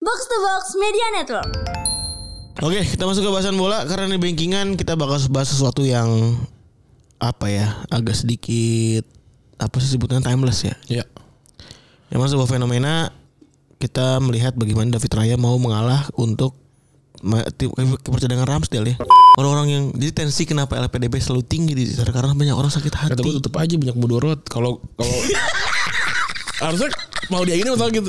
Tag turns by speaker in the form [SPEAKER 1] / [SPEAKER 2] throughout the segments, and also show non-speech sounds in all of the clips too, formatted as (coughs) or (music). [SPEAKER 1] Box to Box Media Network.
[SPEAKER 2] Oke, kita masuk ke bahasan bola karena di bankingan kita bakal bahas sesuatu yang apa ya, agak sedikit apa sih sebutannya timeless ya.
[SPEAKER 3] Ya.
[SPEAKER 2] Memang sebuah fenomena kita melihat bagaimana David Raya mau mengalah untuk ma- tim- kiper cadangan Ramsdale ya. Orang-orang yang jadi tensi kenapa LPDB selalu tinggi di Twitter karena banyak orang sakit
[SPEAKER 3] Kata gue
[SPEAKER 2] hati.
[SPEAKER 3] tutup aja banyak mudorot. Kalau kalau harusnya mau dia ini masalah gitu.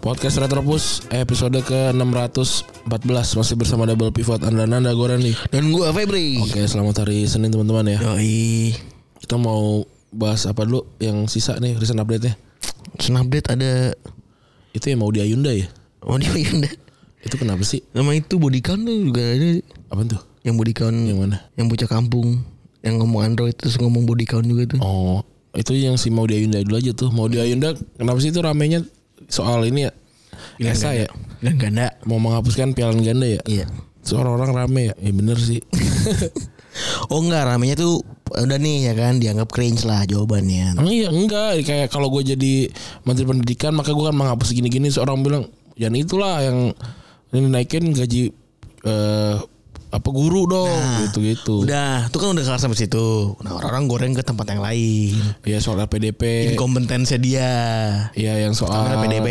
[SPEAKER 3] Podcast Retropus episode ke 614 masih bersama Double Pivot Anda Nanda Goran nih.
[SPEAKER 2] Dan gua Febri.
[SPEAKER 3] Oke, selamat hari Senin teman-teman ya.
[SPEAKER 2] Yoi.
[SPEAKER 3] Kita mau bahas apa dulu yang sisa nih recent update-nya?
[SPEAKER 2] Snapdate ada
[SPEAKER 3] Itu yang mau di Ayunda ya?
[SPEAKER 2] Oh dia yang ada.
[SPEAKER 3] Itu kenapa sih?
[SPEAKER 2] Nama itu body count tuh juga ada
[SPEAKER 3] Apa tuh?
[SPEAKER 2] yang body count
[SPEAKER 3] Yang mana?
[SPEAKER 2] yang bocah kampung yang ngomong Android terus ngomong body count juga tuh.
[SPEAKER 3] Oh, itu yang si mau diayunda dulu aja tuh. Mau diayunda kenapa sih itu ramenya soal ini ya? Esa ya,
[SPEAKER 2] Dan ganda.
[SPEAKER 3] mau menghapuskan piala ganda ya?
[SPEAKER 2] Iya.
[SPEAKER 3] Seorang orang rame ya? Ya bener
[SPEAKER 2] (laughs)
[SPEAKER 3] sih.
[SPEAKER 2] Oh enggak ramenya tuh udah nih ya kan dianggap cringe lah jawabannya.
[SPEAKER 3] Emang iya enggak kayak kalau gue jadi menteri pendidikan maka gue kan menghapus gini-gini seorang bilang jangan itulah yang ini naikin gaji eh apa guru dong
[SPEAKER 2] Nah,
[SPEAKER 3] gitu-gitu.
[SPEAKER 2] Udah, tuh kan udah kelar sampai situ. Nah, orang-orang goreng ke tempat yang lain.
[SPEAKER 3] Ya soal PDP,
[SPEAKER 2] Inkompetensinya dia.
[SPEAKER 3] ya yang soal
[SPEAKER 2] Karena PDB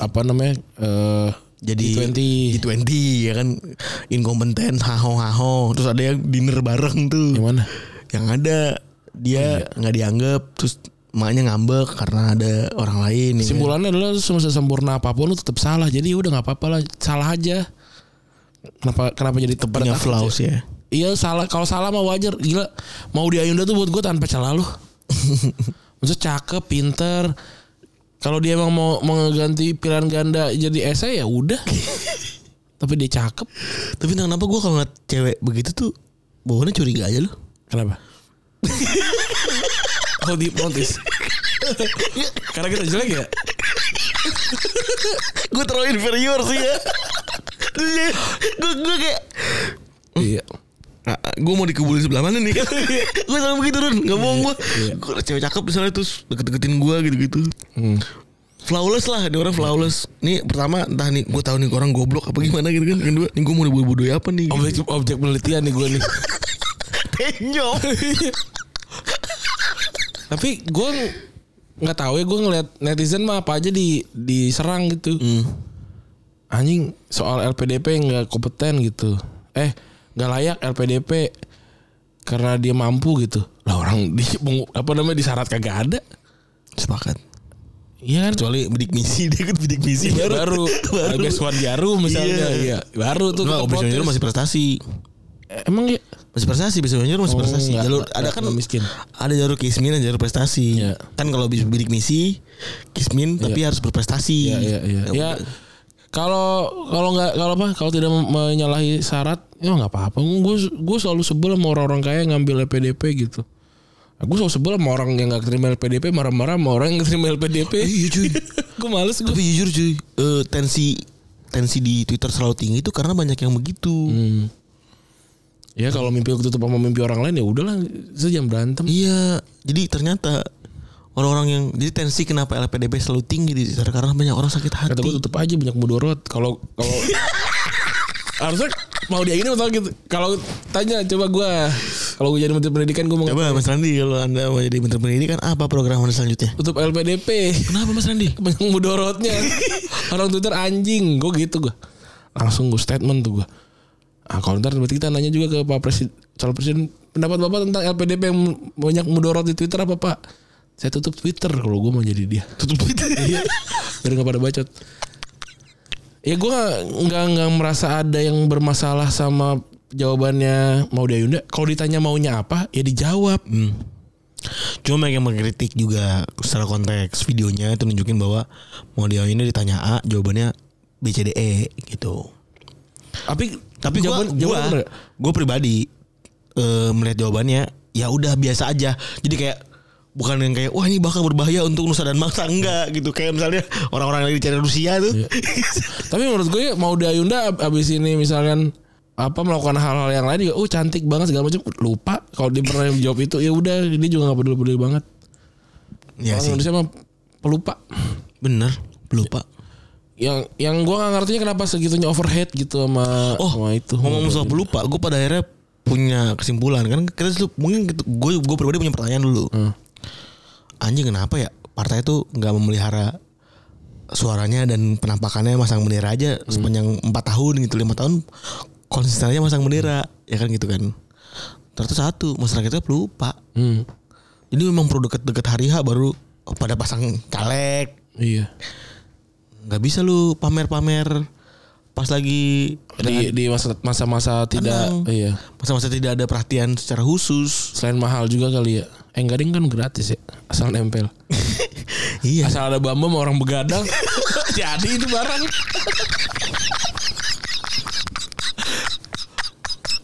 [SPEAKER 3] apa namanya? eh
[SPEAKER 2] jadi
[SPEAKER 3] G20.
[SPEAKER 2] G20 ya kan inkompeten haho haho terus ada yang dinner bareng tuh.
[SPEAKER 3] Yang mana?
[SPEAKER 2] yang ada dia nggak dianggap terus maknya ngambek karena ada orang lain ya kan?
[SPEAKER 3] Simpulannya adalah sempurna apapun lu tetap salah. Jadi ya udah nggak apa-apa lah, salah aja. Kenapa kenapa jadi tebar
[SPEAKER 2] punya flaws ya
[SPEAKER 3] Iya salah. Kalau salah mah wajar. Gila. Mau di Ayunda tuh buat gue tanpa celah (laughs) lu. Maksudnya cakep, pinter. Kalau dia emang mau mengganti pilihan ganda jadi esa ya udah. (laughs) Tapi dia cakep.
[SPEAKER 2] tapi entah kenapa gue kalau ngeliat cewek begitu tuh bawaannya curiga aja loh
[SPEAKER 3] Kenapa? oh di (laughs) notice. Karena kita jelek ya.
[SPEAKER 2] gue terlalu inferior sih ya gue gue kayak
[SPEAKER 3] Iya.
[SPEAKER 2] gue mau dikebulin sebelah mana nih gue selalu begitu Run nggak bohong gue cewek cakep misalnya terus deket-deketin gue gitu-gitu
[SPEAKER 3] Hmm.
[SPEAKER 2] flawless lah ada orang flawless nih pertama entah nih gue tahu nih orang goblok apa gimana gitu kan yang kedua nih gue mau dibodoh-bodohin apa nih
[SPEAKER 3] Objek objek penelitian nih gue nih.
[SPEAKER 2] Tenyok.
[SPEAKER 3] Tapi gue nggak tahu ya gue ngeliat netizen mah apa aja di diserang gitu. Anjing soal LPDP nggak kompeten gitu. Eh nggak layak LPDP karena dia mampu gitu. Lah orang di mengu- apa namanya disyarat kagak ada.
[SPEAKER 2] sepakat
[SPEAKER 3] Iya kan?
[SPEAKER 2] kecuali bidik misi dia ikut bidik misi
[SPEAKER 3] baru baru,
[SPEAKER 2] baru.
[SPEAKER 3] Bagas Wardiaru
[SPEAKER 2] Iya.
[SPEAKER 3] misalnya iya. baru tuh
[SPEAKER 2] Nggak,
[SPEAKER 3] kita
[SPEAKER 2] Obes
[SPEAKER 3] protes.
[SPEAKER 2] Wanjuru masih prestasi
[SPEAKER 3] Eh, emang ya
[SPEAKER 2] masih prestasi Obes Wanjuru masih
[SPEAKER 3] Oh,
[SPEAKER 2] prestasi
[SPEAKER 3] nggak,
[SPEAKER 2] jalur
[SPEAKER 3] nggak,
[SPEAKER 2] ada
[SPEAKER 3] nggak,
[SPEAKER 2] kan
[SPEAKER 3] nggak miskin.
[SPEAKER 2] ada jalur kismin dan jalur prestasi
[SPEAKER 3] Iya.
[SPEAKER 2] kan kalau bis bidik misi kismin tapi harus berprestasi
[SPEAKER 3] Iya iya iya. Ya kalau kalau nggak kalau apa kalau tidak mem- menyalahi syarat ya nggak apa-apa. Gue gue selalu sebel sama orang-orang kaya yang ngambil LPDP gitu. Aku selalu sebel sama orang yang nggak terima LPDP marah-marah sama orang yang nggak terima LPDP.
[SPEAKER 2] Iya,
[SPEAKER 3] (laughs)
[SPEAKER 2] cuy. (laughs)
[SPEAKER 3] gue males gue.
[SPEAKER 2] tapi jujur cuy eh, tensi tensi di Twitter selalu tinggi itu karena banyak yang begitu
[SPEAKER 3] Hmm. Ya kalau mimpi aku tutup sama mimpi orang lain ya udahlah sejam berantem.
[SPEAKER 2] iya jadi ternyata orang-orang yang jadi tensi kenapa LPDB selalu tinggi di Twitter karena banyak orang sakit hati
[SPEAKER 3] Kata gue tutup aja banyak mudorot. Kalau
[SPEAKER 2] (laughs)
[SPEAKER 3] kalau harusnya mau dia ini atau gitu. Kalau tanya coba gue kalau gue jadi menteri pendidikan gue mau
[SPEAKER 2] Coba Mas Randi kalau Anda mau jadi Menteri Pendidikan apa program Anda selanjutnya?
[SPEAKER 3] tutup LPDP.
[SPEAKER 2] Kenapa Mas Randi?
[SPEAKER 3] banyak
[SPEAKER 2] (laughs)
[SPEAKER 3] mudorotnya orang Twitter anjing gue gitu gue langsung gue statement tuh gue ah kalau ntar berarti kita nanya juga ke pak presiden calon presiden pendapat bapak tentang LPDP yang banyak mudorot di Twitter apa pak saya tutup Twitter kalau gue mau jadi
[SPEAKER 2] (laughs)
[SPEAKER 3] dia tutup Twitter iya biar nggak pada bacot ya gue nggak nggak nggak merasa ada yang bermasalah sama jawabannya mau dia Yunda kalau ditanya maunya apa ya dijawab
[SPEAKER 2] Hmm. Cuma banyak yang mengkritik juga secara konteks videonya itu nunjukin bahwa model ini ditanya A jawabannya B C D E gitu.
[SPEAKER 3] tapi
[SPEAKER 2] Tapi gua
[SPEAKER 3] jawaban-
[SPEAKER 2] gua,
[SPEAKER 3] jawaban bener nggak?
[SPEAKER 2] gua pribadi eh, melihat jawabannya ya udah biasa aja. Jadi kayak bukan yang kayak wah ini bakal berbahaya untuk nusa dan bangsa enggak gitu. Kayak misalnya Iya. orang-orang yang dicari Rusia tuh.
[SPEAKER 3] Tapi menurut gue mau Dayunda ab- abis ini misalkan apa melakukan hal-hal yang lain juga, oh cantik banget segala macam lupa kalau dia pernah jawab itu ya udah dia juga nggak peduli-peduli banget.
[SPEAKER 2] (laughs) Iya
[SPEAKER 3] Orang
[SPEAKER 2] sih.
[SPEAKER 3] Indonesia mah pelupa.
[SPEAKER 2] Bener. Lupa.
[SPEAKER 3] Yang yang gua nggak ngertinya kenapa segitunya overhead gitu sama
[SPEAKER 2] Oh,
[SPEAKER 3] sama itu.
[SPEAKER 2] Ngomong soal pelupa, gue pada akhirnya punya kesimpulan kan kita dulu- mungkin gue gue pribadi punya pertanyaan dulu
[SPEAKER 3] Hmm.
[SPEAKER 2] anjing kenapa ya partai itu nggak memelihara suaranya dan penampakannya masang bendera aja
[SPEAKER 3] Hmm.
[SPEAKER 2] sepanjang empat tahun gitu lima tahun konsistennya masang bendera ya kan gitu kan ternyata satu masyarakatnya pelupa
[SPEAKER 3] Hmm.
[SPEAKER 2] jadi memang perlu deket-deket hari H baru pada pasang caleg
[SPEAKER 3] Iya.
[SPEAKER 2] nggak bisa lu pamer-pamer pas lagi
[SPEAKER 3] Di di masa- masa-masa tidak
[SPEAKER 2] kan? Tenang.
[SPEAKER 3] iya.
[SPEAKER 2] masa-masa tidak ada perhatian secara khusus
[SPEAKER 3] Selain mahal juga kali ya. Eh gading kan gratis ya. Asal nempel.
[SPEAKER 2] iya
[SPEAKER 3] Asal ada bambu sama orang
[SPEAKER 2] (laughs)
[SPEAKER 3] begadang. jadi itu barang.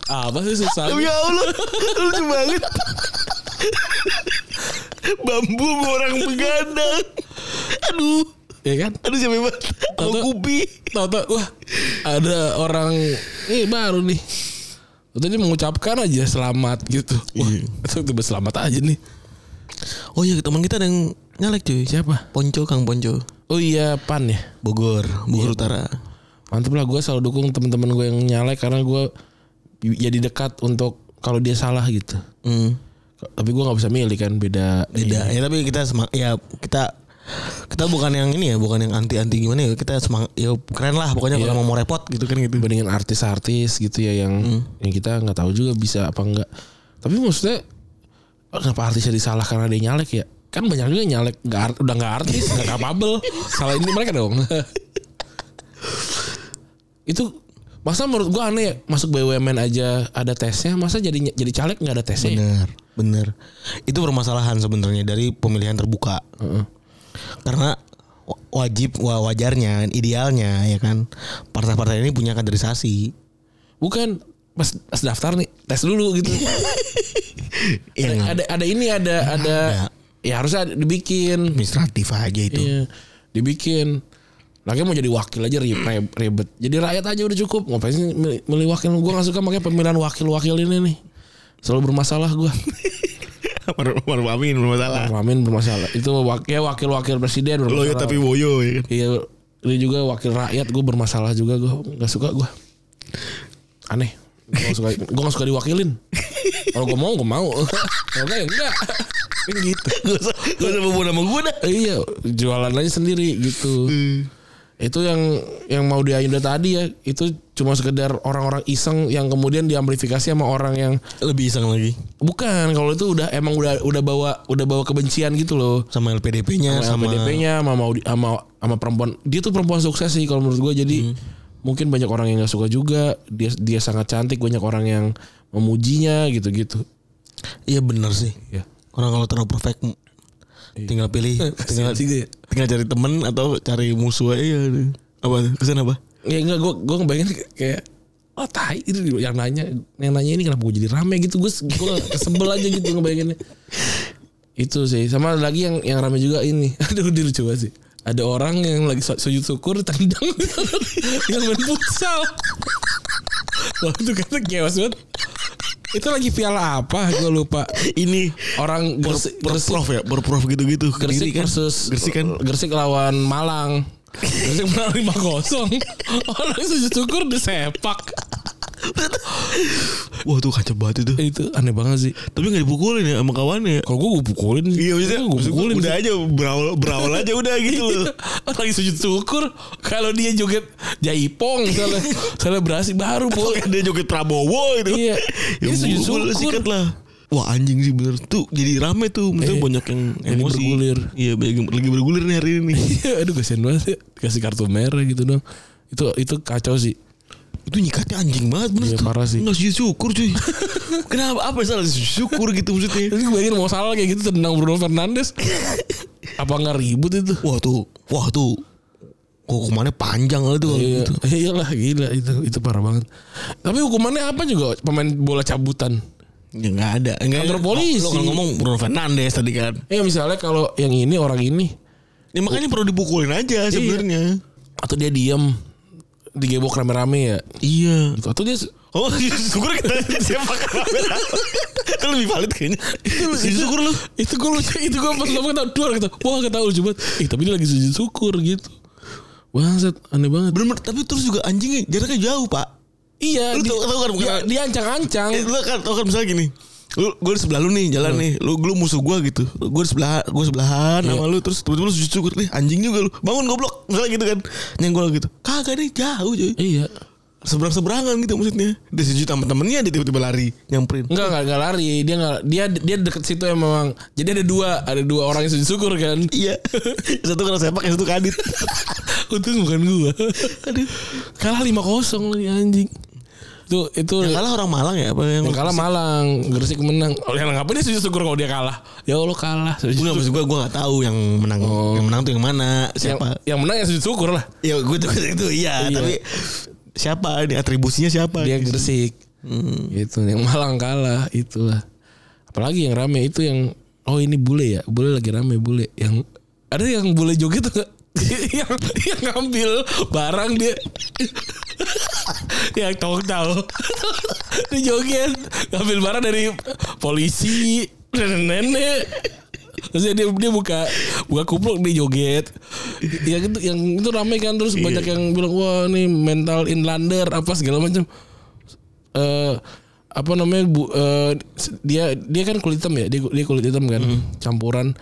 [SPEAKER 3] Apa sih susah?
[SPEAKER 2] Ya Allah, lucu banget. Bambu sama orang begadang. Aduh,
[SPEAKER 3] Ya kan?
[SPEAKER 2] aduh siapa banget. Sama
[SPEAKER 3] Tau-tau-
[SPEAKER 2] Gupi.
[SPEAKER 3] Tahu-tahu wah ada orang eh baru nih. Tadi mengucapkan aja selamat gitu. Wah,
[SPEAKER 2] Iya.
[SPEAKER 3] itu tiba selamat aja nih.
[SPEAKER 2] Oh iya, teman kita ada yang nyalek cuy.
[SPEAKER 3] Siapa?
[SPEAKER 2] Ponco, Kang Ponco.
[SPEAKER 3] Oh iya Pan ya.
[SPEAKER 2] Bogor, Bogor Utara.
[SPEAKER 3] Mantep lah gue selalu dukung teman-teman gue yang nyalek karena gue jadi dekat untuk kalau dia salah gitu.
[SPEAKER 2] Hmm.
[SPEAKER 3] Tapi gue nggak bisa milih kan beda.
[SPEAKER 2] Beda. Ya tapi kita semang ya kita kita bukan yang ini ya, bukan yang anti-anti gimana ya. Kita semang ya keren lah pokoknya
[SPEAKER 3] Iya.
[SPEAKER 2] kalau mau repot gitu Hmm. kan gitu.
[SPEAKER 3] dibandingin artis-artis gitu ya yang yang kita nggak tahu juga bisa apa enggak. Tapi maksudnya "Oh, kenapa artisnya disalah karena dia nyalek ya? Kan banyak juga yang nyalek nggak art- udah nggak artis, nggak
[SPEAKER 2] (laughs)
[SPEAKER 3] capable. Salah ini mereka dong. (laughs) Itu masa menurut gua aneh ya, masuk BUMN aja ada tesnya, masa jadi jadi caleg nggak ada tesnya? ya?
[SPEAKER 2] Bener, bener. Itu permasalahan sebenarnya dari pemilihan terbuka.
[SPEAKER 3] Heeh.
[SPEAKER 2] karena wa- wajib wa- wajarnya idealnya ya kan partai-partai ini punya kaderisasi
[SPEAKER 3] Bukan pas, pas daftar nih tes dulu gitu.
[SPEAKER 2] Iya. ya nggak?
[SPEAKER 3] ada ada ini ada ada
[SPEAKER 2] ada.
[SPEAKER 3] ya harusnya ada- dibikin.
[SPEAKER 2] administratif aja itu
[SPEAKER 3] Iya, dibikin. Lagi mau jadi wakil aja ri- re- ribet. Jadi rakyat aja udah cukup. Ngapain sih milih, milih wakil? Gue gak suka pakai pemilihan wakil-wakil ini nih. Selalu bermasalah (laughs) gue.
[SPEAKER 2] (laughs) baru amin bermasalah
[SPEAKER 3] Amin bermasalah. Itu wak- ya wakil-wakil presiden bermasalah.
[SPEAKER 2] boyo ya kan
[SPEAKER 3] Iya, ini juga wakil rakyat gue bermasalah juga gue nggak suka gue. Aneh. Gue gak suka, gue gak suka (laughs) diwakilin. Kalau gue mau, gue (laughs) mau. Kalau enggak, ya enggak. Kan gitu.
[SPEAKER 2] (laughs) gak usah gak usah bawa nama gue dah
[SPEAKER 3] Iya, jualan aja sendiri gitu. Itu yang yang mau diajuda tadi ya, itu cuma sekedar orang-orang iseng yang kemudian diamplifikasi sama orang yang
[SPEAKER 2] lebih iseng lagi
[SPEAKER 3] bukan kalau itu udah emang udah udah bawa udah bawa kebencian gitu loh.
[SPEAKER 2] sama LPDP-nya sama,
[SPEAKER 3] Sama LPDP-nya sama mau di- sama sama perempuan. Dia tuh perempuan sukses sih kalau menurut gue jadi
[SPEAKER 2] Hmm.
[SPEAKER 3] mungkin banyak orang yang gak suka juga. Dia dia sangat cantik, banyak orang yang memujinya gitu-gitu.
[SPEAKER 2] iya bener sih
[SPEAKER 3] Ya.
[SPEAKER 2] orang kalau terlalu perfect m- tinggal pilih Iya. (laughs) tinggal
[SPEAKER 3] juga ya.
[SPEAKER 2] tinggal cari temen atau cari musuh aja iya. apa kesan apa
[SPEAKER 3] Ya enggak gue gue ngebayangin kayak Oh tai itu yang nanya yang nanya ini kenapa gue jadi rame gitu gue gue (laughs) kesebel aja gitu ngebayanginnya itu sih sama ada lagi yang yang rame juga ini (laughs) aduh dia lucu banget sih ada orang yang lagi su- sujud syukur tendang (laughs) yang main futsal (laughs) wah itu kata chaos banget itu lagi piala apa gue lupa
[SPEAKER 2] ini
[SPEAKER 3] orang
[SPEAKER 2] per,
[SPEAKER 3] Gresik-
[SPEAKER 2] per prof ya per prof gitu-gitu
[SPEAKER 3] Gersik
[SPEAKER 2] Kediri kan
[SPEAKER 3] versus uh,
[SPEAKER 2] Gersik kan
[SPEAKER 3] Gersik lawan Malang. Gersik menang
[SPEAKER 2] (laughs)
[SPEAKER 3] 5-0. Orang sujud syukur disepak.
[SPEAKER 2] wah tuh kacau banget itu
[SPEAKER 3] Itu aneh banget sih.
[SPEAKER 2] Tapi gak dipukulin ya sama kawannya
[SPEAKER 3] Kalau gue gue pukulin.
[SPEAKER 2] Iya maksudnya
[SPEAKER 3] gue pukulin. Iya.
[SPEAKER 2] Udah aja berawal, berawal aja udah gitu loh
[SPEAKER 3] Orang lagi sujud syukur kalau dia joget jaipong
[SPEAKER 2] (laughs)
[SPEAKER 3] misalnya selebrasi baru
[SPEAKER 2] Kalau
[SPEAKER 3] boleh.
[SPEAKER 2] kayak dia joget Prabowo gitu
[SPEAKER 3] Iya.
[SPEAKER 2] Ya
[SPEAKER 3] Ini sujud
[SPEAKER 2] pukul lah,
[SPEAKER 3] syukur.
[SPEAKER 2] sikat lah Wah anjing sih bener tuh Jadi rame tuh Maksudnya
[SPEAKER 3] Eh,
[SPEAKER 2] banyak yang
[SPEAKER 3] jadi
[SPEAKER 2] emosi
[SPEAKER 3] bergulir.
[SPEAKER 2] Iya banyak- lagi bergulir nih hari
[SPEAKER 3] (laughs)
[SPEAKER 2] ini
[SPEAKER 3] Iya, aduh kasihan banget ya. Kasih kartu merah gitu dong. Itu itu kacau sih.
[SPEAKER 2] Itu nyikatnya anjing banget bener
[SPEAKER 3] Iya,
[SPEAKER 2] tuh
[SPEAKER 3] parah sih.
[SPEAKER 2] Nggak sujud syukur
[SPEAKER 3] (laughs)
[SPEAKER 2] cuy Kenapa apa yang salah sujud syukur gitu maksudnya
[SPEAKER 3] Terus gue bayangin mau salah kayak gitu tendang Bruno Fernandes.
[SPEAKER 2] (laughs)
[SPEAKER 3] Apa nggak ribut itu?
[SPEAKER 2] Wah tuh Wah tuh Hukumannya panjang lah tuh kalau
[SPEAKER 3] Iya,
[SPEAKER 2] gitu.
[SPEAKER 3] iyalah gila itu itu parah banget. Tapi hukumannya apa juga pemain bola cabutan?
[SPEAKER 2] Ya nggak ada Nggak
[SPEAKER 3] Kantor polisi.
[SPEAKER 2] Lo kalau ngomong Bruno Fernandes tadi kan
[SPEAKER 3] Eh misalnya kalau yang ini orang ini
[SPEAKER 2] Ya makanya perlu dipukulin aja sebenarnya.
[SPEAKER 3] atau dia diem digebok rame-rame ya
[SPEAKER 2] Iya.
[SPEAKER 3] gitu. atau dia
[SPEAKER 2] Oh, (laughs) syukur kita sepak bola. Itu lebih valid kayaknya. Sujud syukur Iya, lu.
[SPEAKER 3] itu gue lucu itu gue pas ngomong ketawa dua orang ketawa wah ketawa lucu banget eh tapi dia lagi sujud syukur gitu Bangsat, aneh banget.
[SPEAKER 2] Bener, tapi terus juga anjingnya jaraknya jauh, Pak.
[SPEAKER 3] Iya,
[SPEAKER 2] Lu
[SPEAKER 3] di-
[SPEAKER 2] tau- tau kan, bukan-
[SPEAKER 3] dia, dia ancang-ancang.
[SPEAKER 2] Eh, Hmm. lu kan tau kan misalnya gini lu gue di sebelah lu nih jalan nih lu lu musuh gue gitu gue di sebelah gue sebelahan sama lu terus tiba-tiba lu sujud syukur nih anjing juga lu bangun goblok misalnya gitu kan nyenggol gitu kagak nih jauh cuy
[SPEAKER 3] Iya.
[SPEAKER 2] seberang seberangan gitu maksudnya dia sujud sama temennya dia tiba-tiba lari nyamperin
[SPEAKER 3] Enggak, enggak, enggak lari. Dia enggak dia dia deket situ ya memang. Jadi ada dua, ada dua orang yang sujud syukur kan.
[SPEAKER 2] (laughs) iya satu kena sepak yang satu kadit
[SPEAKER 3] Untung bukan gua.
[SPEAKER 2] aduh
[SPEAKER 3] Kalah 5-0 lagi anjing. Itu itu
[SPEAKER 2] yang kalah orang Malang ya apa yang,
[SPEAKER 3] yang kalah Malang, Gresik menang. Oh, yang ngapain dia sujud syukur kalau dia kalah? Ya Allah kalah. Sujud
[SPEAKER 2] gue nggak Iya, maksud gue gue nggak tahu yang menang yang menang tuh Oh. yang mana
[SPEAKER 3] yang,
[SPEAKER 2] siapa
[SPEAKER 3] yang menang ya sujud syukur lah.
[SPEAKER 2] ya gue tuh itu iya,
[SPEAKER 3] Iya.
[SPEAKER 2] tapi siapa nih atribusinya siapa
[SPEAKER 3] Dia
[SPEAKER 2] gitu.
[SPEAKER 3] Gresik. Gitu, yang Malang kalah itulah. Apalagi yang rame itu yang oh ini bule ya. Bule lagi rame bule yang ada yang bule joget tuh nggak? (laughs) yang yang ngambil barang dia (laughs) yang tong tahu (laughs) dia joget ngambil barang dari polisi nenek terus dia dia buka buka kupluk dia joget ya gitu yang itu rame kan terus banyak yang bilang wah ini mental inlander apa segala macam eh apa namanya bu, eh, dia dia kan kulit hitam ya dia, dia kulit hitam kan campuran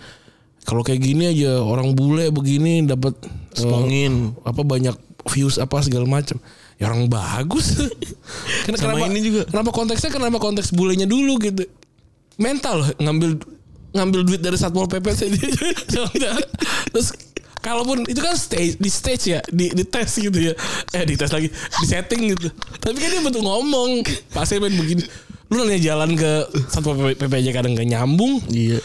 [SPEAKER 3] kalau kayak gini aja orang bule begini dapat eh,
[SPEAKER 2] Spongin.
[SPEAKER 3] apa banyak views apa segala macam ya orang
[SPEAKER 2] (laughs)
[SPEAKER 3] bagus Ken-
[SPEAKER 2] Sama
[SPEAKER 3] kenapa
[SPEAKER 2] ini juga.
[SPEAKER 3] kenapa konteksnya kenapa konteks bulenya dulu gitu mental loh ngambil ngambil duit dari satpol pp (laughs) saja terus kalaupun itu kan stage di stage ya di, di tes gitu ya eh di tes lagi di setting gitu tapi kan dia betul ngomong pasti main begini lu nanya jalan ke satpol pp aja kadang gak nyambung
[SPEAKER 2] Iya.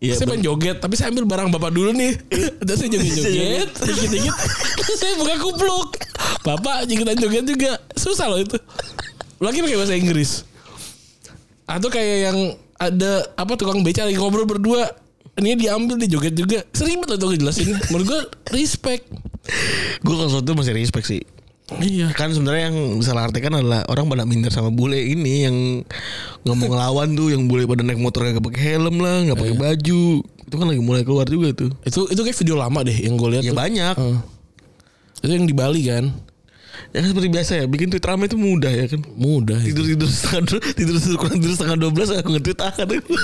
[SPEAKER 2] Iya.
[SPEAKER 3] saya
[SPEAKER 2] ben-
[SPEAKER 3] pengen joget, tapi saya ambil barang bapak dulu
[SPEAKER 2] (laughs)
[SPEAKER 3] nih. Dan saya joget-joget, dikit-dikit. (laughs) Terus saya buka kupluk. Bapak jogetan joget juga. Susah loh itu. Lagi pakai bahasa Inggris. Atau kayak yang ada apa tukang beca lagi ngobrol berdua. Ini diambil di joget juga. Seribet loh itu ngejelasin. Menurut gue respect.
[SPEAKER 2] Gue kalau sesuatu masih respect sih.
[SPEAKER 3] Iya.
[SPEAKER 2] Kan sebenarnya yang salah artikan adalah orang pada minder sama bule ini yang nggak mau ngelawan tuh, yang bule pada naik motor nggak pakai helm lah, nggak pakai baju. Itu kan lagi mulai keluar juga tuh.
[SPEAKER 3] Itu itu kayak video lama deh yang gue lihat.
[SPEAKER 2] Ya
[SPEAKER 3] tuh.
[SPEAKER 2] banyak.
[SPEAKER 3] Heeh. Itu yang di Bali kan.
[SPEAKER 2] Ya kan seperti biasa ya, bikin tweet rame itu mudah ya kan.
[SPEAKER 3] Mudah. itu.
[SPEAKER 2] Tidur tidur setengah dua- tidur tidur kurang tidur setengah dua belas aku nge-tweet ah kata gua.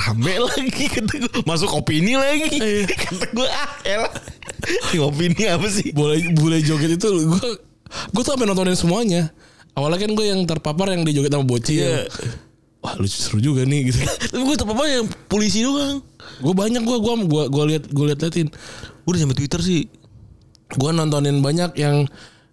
[SPEAKER 2] rame lagi kata gua. masuk opini lagi kata gue ah elah Ini opini apa sih
[SPEAKER 3] boleh boleh joget itu gue gue tuh sampai nontonin semuanya awalnya kan gue yang terpapar yang dijoget sama bocil
[SPEAKER 2] Iya.
[SPEAKER 3] wah lucu seru juga nih gitu
[SPEAKER 2] tapi gue terpapar yang polisi doang
[SPEAKER 3] gue banyak gue gue gue gue liat gue liat liatin
[SPEAKER 2] gue udah sampai twitter sih
[SPEAKER 3] gue nontonin banyak yang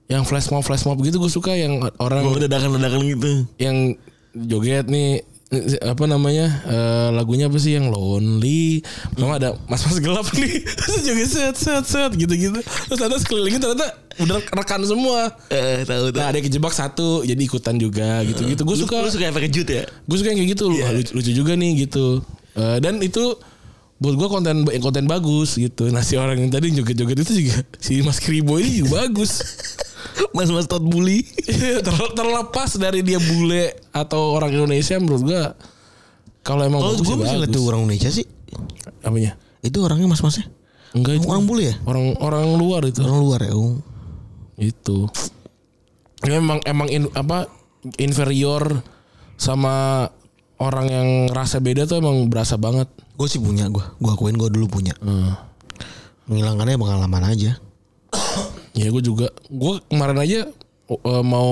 [SPEAKER 3] yang flash mob flash mob gitu gue suka yang orang
[SPEAKER 2] Bawa dadakan-dadakan gitu.
[SPEAKER 3] yang joget nih eh, apa namanya eh, lagunya apa sih yang lonely sama ada mas mas gelap nih (laughs) terus joget set set set gitu gitu terus ternyata sekelilingnya ternyata udah rekan semua
[SPEAKER 2] Eh, tahu tahu.
[SPEAKER 3] Nah ada yang kejebak satu jadi ikutan juga gitu-gitu. Gue suka
[SPEAKER 2] Lu suka efek kejut ya?
[SPEAKER 3] gue suka yang kayak gitu loh. Lucu, lucu juga nih gitu. Eh, dan itu buat gue konten konten bagus gitu. Nah si orang yang tadi joget-joget itu juga si Mas Kribo ini juga
[SPEAKER 2] (laughs)
[SPEAKER 3] bagus.
[SPEAKER 2] Mas-mas tot bully.
[SPEAKER 3] Ter- terlepas dari dia bule atau orang Indonesia menurut gue kalau emang
[SPEAKER 2] Kalau
[SPEAKER 3] bagus
[SPEAKER 2] gue
[SPEAKER 3] ya
[SPEAKER 2] masih ngeliat
[SPEAKER 3] bagus.
[SPEAKER 2] tuh orang Indonesia sih.
[SPEAKER 3] Apanya?
[SPEAKER 2] Itu orangnya mas-masnya.
[SPEAKER 3] Enggak itu
[SPEAKER 2] Orang bully ya?
[SPEAKER 3] orang orang luar itu.
[SPEAKER 2] Orang luar ya. Om.
[SPEAKER 3] itu Ya, emang emang in- apa inferior sama orang yang rasa beda tuh emang berasa banget
[SPEAKER 2] Gue sih punya gue. Gue akuin gue dulu punya. Menghilangkannya pengalaman aja.
[SPEAKER 3] ya gue juga gue kemarin aja uh, mau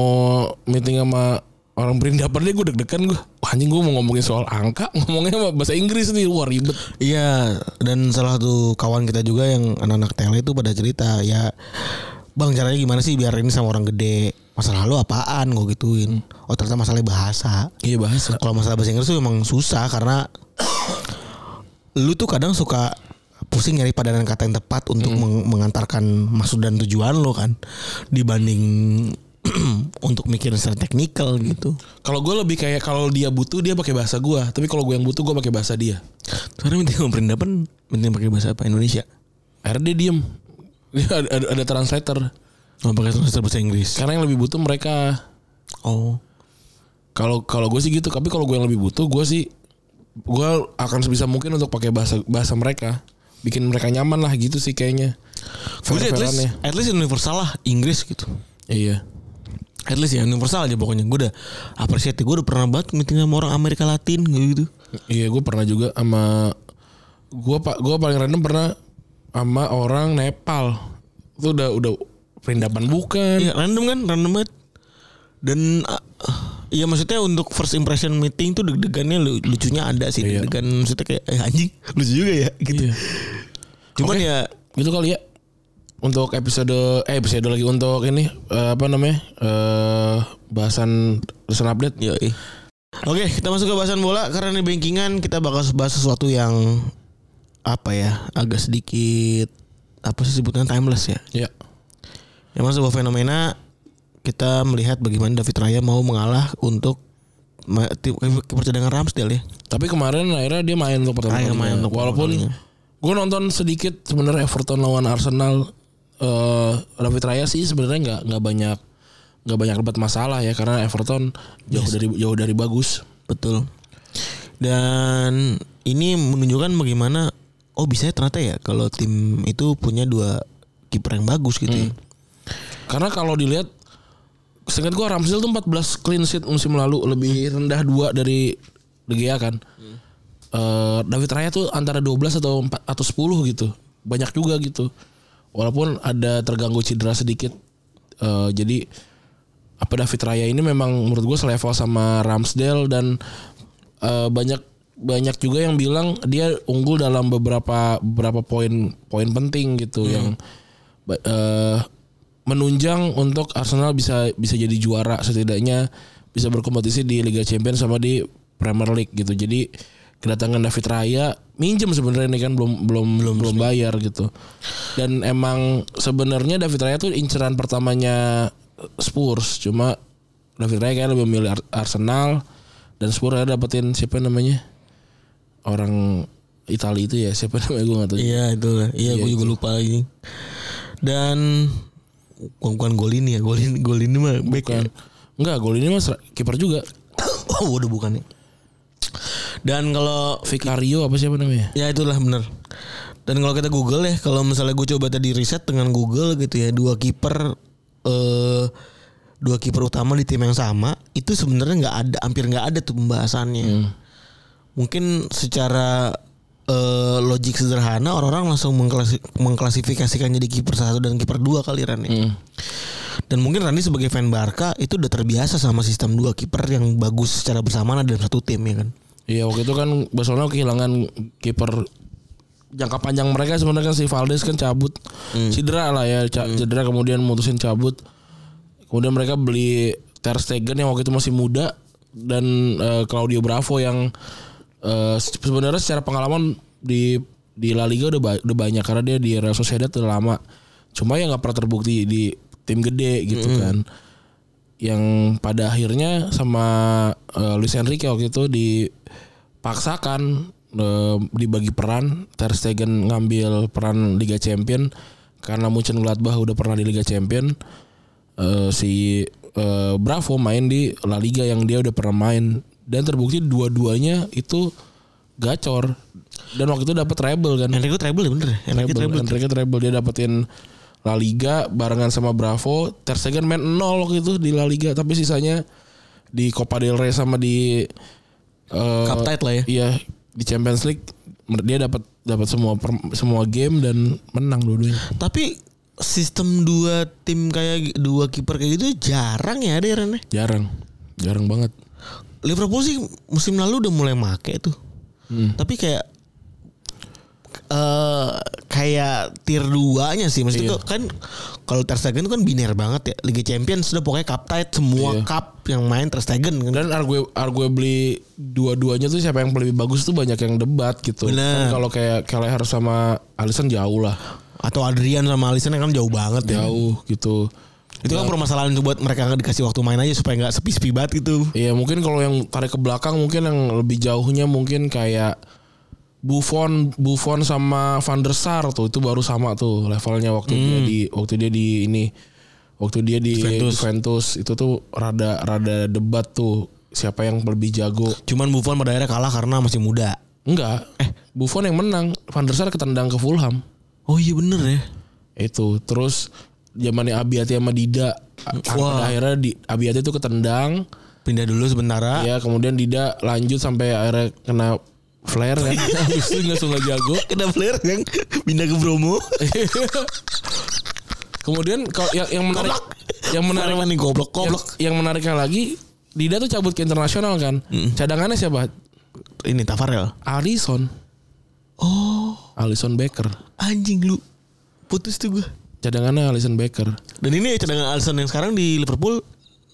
[SPEAKER 3] meeting sama orang perindapan dia gue deg-degan gue Wah, anjing gue mau ngomongin soal angka (laughs) ngomongnya sama bahasa Inggris nih wah ribet
[SPEAKER 2] Iya. Dan salah satu kawan kita juga yang anak-anak tele itu pada cerita ya. Bang caranya gimana sih biar ini sama orang gede? Masalah lu apaan? Gue gituin. Oh ternyata masalahnya bahasa.
[SPEAKER 3] iya bahasa
[SPEAKER 2] kalau masalah bahasa Inggris tuh emang susah karena (coughs) lu tuh kadang suka pusing nyari padanan kata yang tepat untuk meng- mengantarkan maksud dan tujuan lo kan dibanding (coughs) untuk mikirin secara teknikal gitu.
[SPEAKER 3] kalau gue lebih kayak kalau dia butuh dia pakai bahasa gue tapi kalau gue yang butuh gue pakai bahasa dia
[SPEAKER 2] Karena penting perindapan penting pakai bahasa apa Indonesia.
[SPEAKER 3] akhirnya dia diem (laughs) dia ada, ada, ada translator
[SPEAKER 2] Oh, pakai translator bahasa Inggris.
[SPEAKER 3] karena yang lebih butuh mereka
[SPEAKER 2] Oh.
[SPEAKER 3] Kalau kalau gue sih gitu, tapi kalau gue yang lebih butuh, gue sih gue akan sebisa mungkin untuk pakai bahasa bahasa mereka, bikin mereka nyaman lah gitu sih kayaknya.
[SPEAKER 2] Jadi at least,
[SPEAKER 3] Fair-fairannya.
[SPEAKER 2] at least universal lah Inggris gitu.
[SPEAKER 3] Iya.
[SPEAKER 2] At least ya universal aja pokoknya. Gue udah appreciate. Gue udah pernah banget meeting sama orang Amerika Latin gitu.
[SPEAKER 3] Iya, gue pernah juga sama gue pak gue paling random pernah sama orang Nepal. Itu udah udah perindapan bukan.
[SPEAKER 2] Iya random kan, random banget. Dan ah, ah, Iya maksudnya untuk first impression meeting tuh deg-degannya lu- lucunya ada sih
[SPEAKER 3] Iya.
[SPEAKER 2] deg-degan maksudnya kayak eh, anjing lucu juga ya gitu.
[SPEAKER 3] Iya.
[SPEAKER 2] Cuman
[SPEAKER 3] Oke.
[SPEAKER 2] ya
[SPEAKER 3] gitu kali ya untuk episode eh episode lagi untuk ini eh, apa namanya eh bahasan bahasan update
[SPEAKER 2] yo Oke, kita masuk ke bahasan bola karena di bankingan kita bakal bahas sesuatu yang apa ya, agak sedikit apa sih sebutannya timeless ya.
[SPEAKER 3] ya
[SPEAKER 2] Memang sebuah fenomena kita melihat bagaimana David Raya mau mengalah untuk me- tim- kiper cadangan Ramsdale ya.
[SPEAKER 3] tapi kemarin akhirnya dia main untuk pertama
[SPEAKER 2] Akhirnya
[SPEAKER 3] kalinya.
[SPEAKER 2] Ah, iya, main untuk pertama
[SPEAKER 3] walaupun
[SPEAKER 2] kalinya.
[SPEAKER 3] gue nonton sedikit sebenarnya Everton lawan Arsenal eh David Raya sih sebenarnya nggak nggak banyak nggak banyak dapat masalah ya karena Everton jauh dari jauh dari bagus
[SPEAKER 2] Betul. Dan ini menunjukkan bagaimana oh bisa ya ternyata ya kalau tim itu punya dua kiper yang bagus gitu ya.
[SPEAKER 3] karena kalau dilihat seingat gue Ramsdale tuh 14 clean sheet musim lalu lebih rendah dua dari De Gea kan Eh, David Raya tuh antara 12 atau 4 atau 10 gitu banyak juga gitu walaupun ada terganggu cedera sedikit Eh, jadi apa David Raya ini memang menurut gue selevel sama Ramsdale dan eh, banyak banyak juga yang bilang dia unggul dalam beberapa beberapa poin poin penting gitu yang ba- eh, menunjang untuk Arsenal bisa bisa jadi juara setidaknya bisa berkompetisi di Liga Champions sama di Premier League gitu jadi kedatangan David Raya minjem sebenarnya ini kan belum belum belum belum bayar gitu dan emang sebenarnya David Raya tuh inceran pertamanya Spurs cuma David Raya kayak lebih memilih Ar- Arsenal dan Spurs ada dapetin siapa namanya orang Italia itu ya siapa namanya gue nggak tahu
[SPEAKER 2] Iya itu lah. Iya, gue juga lupa lagi. Dan bukan, bukan gol ini ya, gol ini gol ini mah back ya.
[SPEAKER 3] Bukan. Enggak, gol ini mas kiper juga.
[SPEAKER 2] (coughs) oh, udah bukan ya. Dan kalau
[SPEAKER 3] Vicario apa siapa namanya?
[SPEAKER 2] ya itulah bener. Dan kalau kita Google ya, kalau misalnya gue coba tadi riset dengan Google gitu ya, dua kiper eh dua kiper utama di tim yang sama itu sebenarnya nggak ada, hampir nggak ada tuh pembahasannya. Mungkin secara eh, logik sederhana orang-orang langsung mengklasi- mengklasifikasikan jadi kiper satu dan kiper dua kali Ran ya. Dan mungkin Randy sebagai fan Barca itu udah terbiasa sama sistem dua kiper yang bagus secara bersamaan dalam satu tim ya kan.
[SPEAKER 3] Iya, waktu itu kan Barcelona kehilangan kiper jangka panjang mereka sebenarnya kan si Valdes kan cabut. Cedera lah ya, ca- cedera kemudian mutusin cabut. Kemudian mereka beli Ter Stegen yang waktu itu masih muda dan eh, Claudio Bravo yang eh, se- sebenarnya secara pengalaman di di La Liga udah, ba- udah banyak karena dia di Real Sociedad udah lama. Cuma ya nggak pernah terbukti di tim gede gitu kan. yang pada akhirnya sama eh, Luis Enrique waktu itu dipaksakan eh, dibagi peran Ter Stegen ngambil peran Liga Champion karena Munchen Gladbach udah pernah di Liga Champion eh, si eh, Bravo main di La Liga yang dia udah pernah main dan terbukti dua-duanya itu gacor dan waktu itu dapat treble kan
[SPEAKER 2] Enrico treble ya bener ya? Enrico
[SPEAKER 3] treble.
[SPEAKER 2] treble.
[SPEAKER 3] Enrique treble dia dapetin La Liga barengan sama Bravo. Ter Stegen main 0 waktu itu di La Liga tapi sisanya di Copa del Rey sama di eh,
[SPEAKER 2] Cup tight lah ya.
[SPEAKER 3] Iya, di Champions League mer- dia dapat dapat semua per- semua game dan menang dua-duanya.
[SPEAKER 2] Tapi sistem dua tim kayak dua kiper kayak gitu jarang ya ada ya Ren, ya?
[SPEAKER 3] Jarang. Jarang banget.
[SPEAKER 2] Liverpool sih musim lalu udah mulai make tuh.
[SPEAKER 3] Hmm.
[SPEAKER 2] Tapi kayak eh kayak tier 2-nya sih
[SPEAKER 3] Iya.
[SPEAKER 2] maksudnya tuh kan kalau Ter Stegen tuh kan biner banget ya Liga Champions sudah pokoknya cup tight semua
[SPEAKER 3] Iya.
[SPEAKER 2] cup yang main Ter Stegen kan.
[SPEAKER 3] Dan argue argue beli dua-duanya tuh siapa yang lebih bagus tuh banyak yang debat gitu.
[SPEAKER 2] Bener.
[SPEAKER 3] Kan kalau kayak Kelleher sama Alisson jauh lah.
[SPEAKER 2] atau Adrian sama Alisson kan jauh banget ya.
[SPEAKER 3] Jauh gitu.
[SPEAKER 2] Itu kan permasalahan tuh buat mereka nggak dikasih waktu main aja supaya nggak sepi-sepi banget gitu.
[SPEAKER 3] Iya mungkin kalau yang tarik ke belakang mungkin yang lebih jauhnya mungkin kayak Buffon, Buffon sama Van der Sar tuh itu baru sama tuh levelnya waktu dia di waktu dia di ini waktu dia di
[SPEAKER 2] Juventus.
[SPEAKER 3] Hmm. Juventus, itu tuh rada rada debat tuh siapa yang lebih jago
[SPEAKER 2] Cuman Buffon pada akhirnya kalah karena masih muda.
[SPEAKER 3] enggak eh Buffon yang menang Van der Sar ketendang ke Fulham
[SPEAKER 2] Oh iya bener ya.
[SPEAKER 3] itu terus zamannya Abiati sama Dida A-
[SPEAKER 2] Wah.
[SPEAKER 3] akhirnya di Abiati tuh ketendang
[SPEAKER 2] Pindah dulu sebentar.
[SPEAKER 3] ya kemudian Dida lanjut sampai akhirnya kena flare kan
[SPEAKER 2] Iya.
[SPEAKER 3] (laughs) habis itu langsung nggak jago
[SPEAKER 2] Kena player yang pindah ke Bromo.
[SPEAKER 3] kemudian kalau ya, yang yang menarik
[SPEAKER 2] Goblok.
[SPEAKER 3] yang menarik
[SPEAKER 2] Mana nih goblok
[SPEAKER 3] yang,
[SPEAKER 2] goblok.
[SPEAKER 3] yang menariknya lagi Dida tuh cabut ke internasional kan cadangannya siapa
[SPEAKER 2] Ini Tafarel.
[SPEAKER 3] Alisson
[SPEAKER 2] Oh
[SPEAKER 3] Alisson Becker
[SPEAKER 2] anjing lu putus tuh gue.
[SPEAKER 3] cadangannya Alisson Becker
[SPEAKER 2] Dan ini cadangan Alisson yang sekarang di Liverpool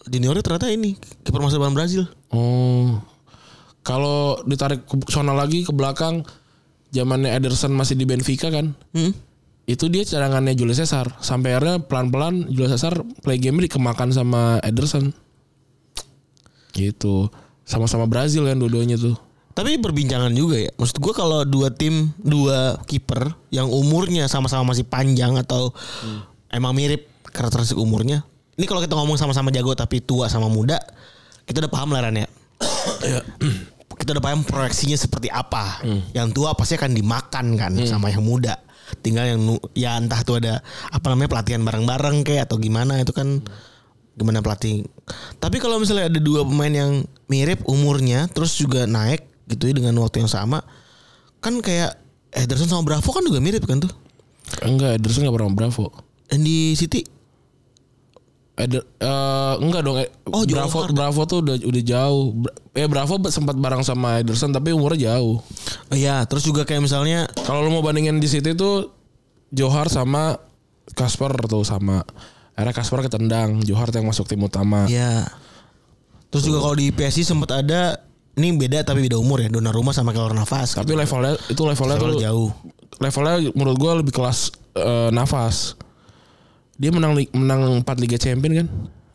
[SPEAKER 2] juniornya ternyata ini kiper masa depan Brazil.
[SPEAKER 3] oh kalau ditarik ke sana lagi ke belakang zamannya Ederson masih di Benfica kan
[SPEAKER 2] Hmm.
[SPEAKER 3] itu dia cadangannya Julius Caesar sampai akhirnya pelan-pelan Julius Caesar play game dikemakan sama Ederson gitu sama-sama Brazil kan dua-duanya tuh
[SPEAKER 2] Tapi perbincangan juga ya. Maksud gue kalau dua tim dua kiper yang umurnya sama-sama masih panjang atau emang mirip karakteristik umurnya. Ini kalau kita ngomong sama-sama jago tapi tua sama muda, kita udah paham lah Ran, ya. (coughs) kita udah paham proyeksinya seperti apa. Yang tua pasti akan dimakan kan sama yang muda. Tinggal yang nu- ya entah tuh ada apa namanya pelatihan bareng-bareng kayak atau gimana itu kan gimana pelatih. Tapi kalau misalnya ada dua pemain yang mirip umurnya terus juga naik gitu ya dengan waktu yang sama kan kayak Ederson sama Bravo kan juga mirip kan tuh.
[SPEAKER 3] enggak Ederson nggak pernah sama Bravo
[SPEAKER 2] Dan di City
[SPEAKER 3] Eder, eh, enggak dong eh,
[SPEAKER 2] Oh, jauh
[SPEAKER 3] Bravo
[SPEAKER 2] banget.
[SPEAKER 3] Bravo tuh udah udah jauh Bra- eh Bravo be- sempat bareng sama Ederson tapi umurnya jauh
[SPEAKER 2] oh iya terus juga kayak misalnya
[SPEAKER 3] kalau lu mau bandingin di situ tuh Johar sama Kasper tuh sama akhirnya Kasper ketendang Johar tuh yang masuk tim utama
[SPEAKER 2] ya terus juga kalau di PSG sempat ada ini beda tapi beda umur ya Donnarumma sama Keller Navas.
[SPEAKER 3] tapi levelnya itu levelnya tuh
[SPEAKER 2] Levelnya jauh.
[SPEAKER 3] levelnya menurut gua lebih kelas eh, nafas dia menang li- menang 4 Liga Champion kan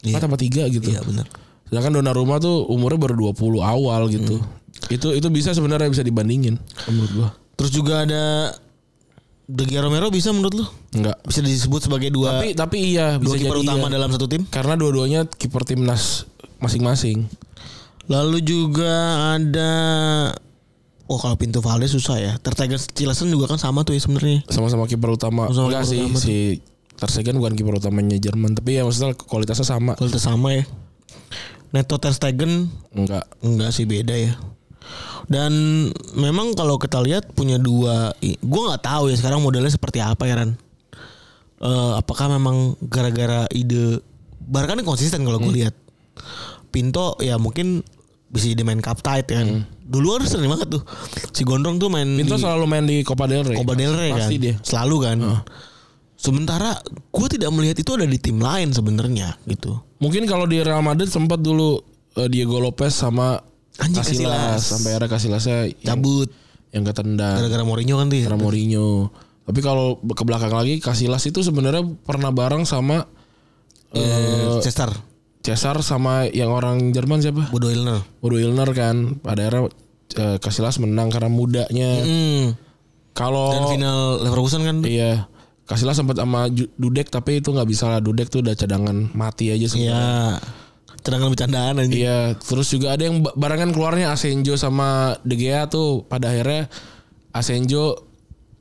[SPEAKER 2] Iya.
[SPEAKER 3] 4 apa 3 gitu
[SPEAKER 2] Iya benar.
[SPEAKER 3] sedangkan Donnarumma tuh umurnya baru 20 awal gitu
[SPEAKER 2] Hmm.
[SPEAKER 3] itu itu bisa sebenarnya bisa dibandingin menurut gua
[SPEAKER 2] Terus juga ada De Gea Romero bisa menurut lu?
[SPEAKER 3] enggak
[SPEAKER 2] Bisa disebut sebagai dua
[SPEAKER 3] tapi tapi iya
[SPEAKER 2] dua
[SPEAKER 3] bisa
[SPEAKER 2] kiper
[SPEAKER 3] jadi
[SPEAKER 2] utama
[SPEAKER 3] iya.
[SPEAKER 2] dalam satu tim.
[SPEAKER 3] karena dua-duanya kiper timnas masing-masing
[SPEAKER 2] Lalu juga ada Oh kalau pintu Valdes susah ya. Tertegen Cilesen juga kan sama tuh ya sebenarnya.
[SPEAKER 3] sama-sama kiper utama
[SPEAKER 2] Sama-sama
[SPEAKER 3] enggak
[SPEAKER 2] kiper
[SPEAKER 3] sih
[SPEAKER 2] utama
[SPEAKER 3] si Ter Stegen bukan kiper utamanya Jerman tapi ya maksudnya kualitasnya sama
[SPEAKER 2] Kalau sama ya. Neto Ter Stegen
[SPEAKER 3] enggak
[SPEAKER 2] enggak sih beda ya. Dan memang kalau kita lihat punya dua i- gua nggak tahu ya sekarang modelnya seperti apa ya Ran. Eh, apakah memang gara-gara ide Barca kan konsisten kalau gue lihat. Pinto ya mungkin bisa jadi main cup tight kan. Dulu harus sering banget tuh. Si Gondrong tuh main
[SPEAKER 3] Pinto
[SPEAKER 2] di
[SPEAKER 3] selalu main di Copa del Rey
[SPEAKER 2] Copa del Rey kan.
[SPEAKER 3] Iya. pasti dia
[SPEAKER 2] Selalu kan. Sementara gue tidak melihat itu ada di tim lain sebenarnya gitu.
[SPEAKER 3] Mungkin kalau di Real Madrid sempat dulu eh, Diego Lopez sama
[SPEAKER 2] Anjing, Casillas.
[SPEAKER 3] Casillas sampai era Casillasnya yang,
[SPEAKER 2] Cabut
[SPEAKER 3] yang ketendang
[SPEAKER 2] gara-gara Mourinho kan tuh. ya.
[SPEAKER 3] era Mourinho. Tapi kalau ke belakang lagi Casillas itu sebenarnya pernah bareng sama
[SPEAKER 2] Eh, Chester,
[SPEAKER 3] Cesar sama yang orang Jerman siapa?
[SPEAKER 2] Bodo Ilner.
[SPEAKER 3] Bodo Ilner kan. Pada era eh, Casillas menang karena mudanya.
[SPEAKER 2] Hmm. Dan
[SPEAKER 3] Kalau
[SPEAKER 2] final Leverkusen kan
[SPEAKER 3] Oh. iya Casillas sempat sama Ju- Dudek tapi itu nggak bisa lah Dudek tuh udah cadangan mati aja sebenarnya.
[SPEAKER 2] Iya. Cadangan bercandaan aja.
[SPEAKER 3] Iya, terus juga ada yang ba- barengan keluarnya Asenjo sama De Gea tuh pada akhirnya Asenjo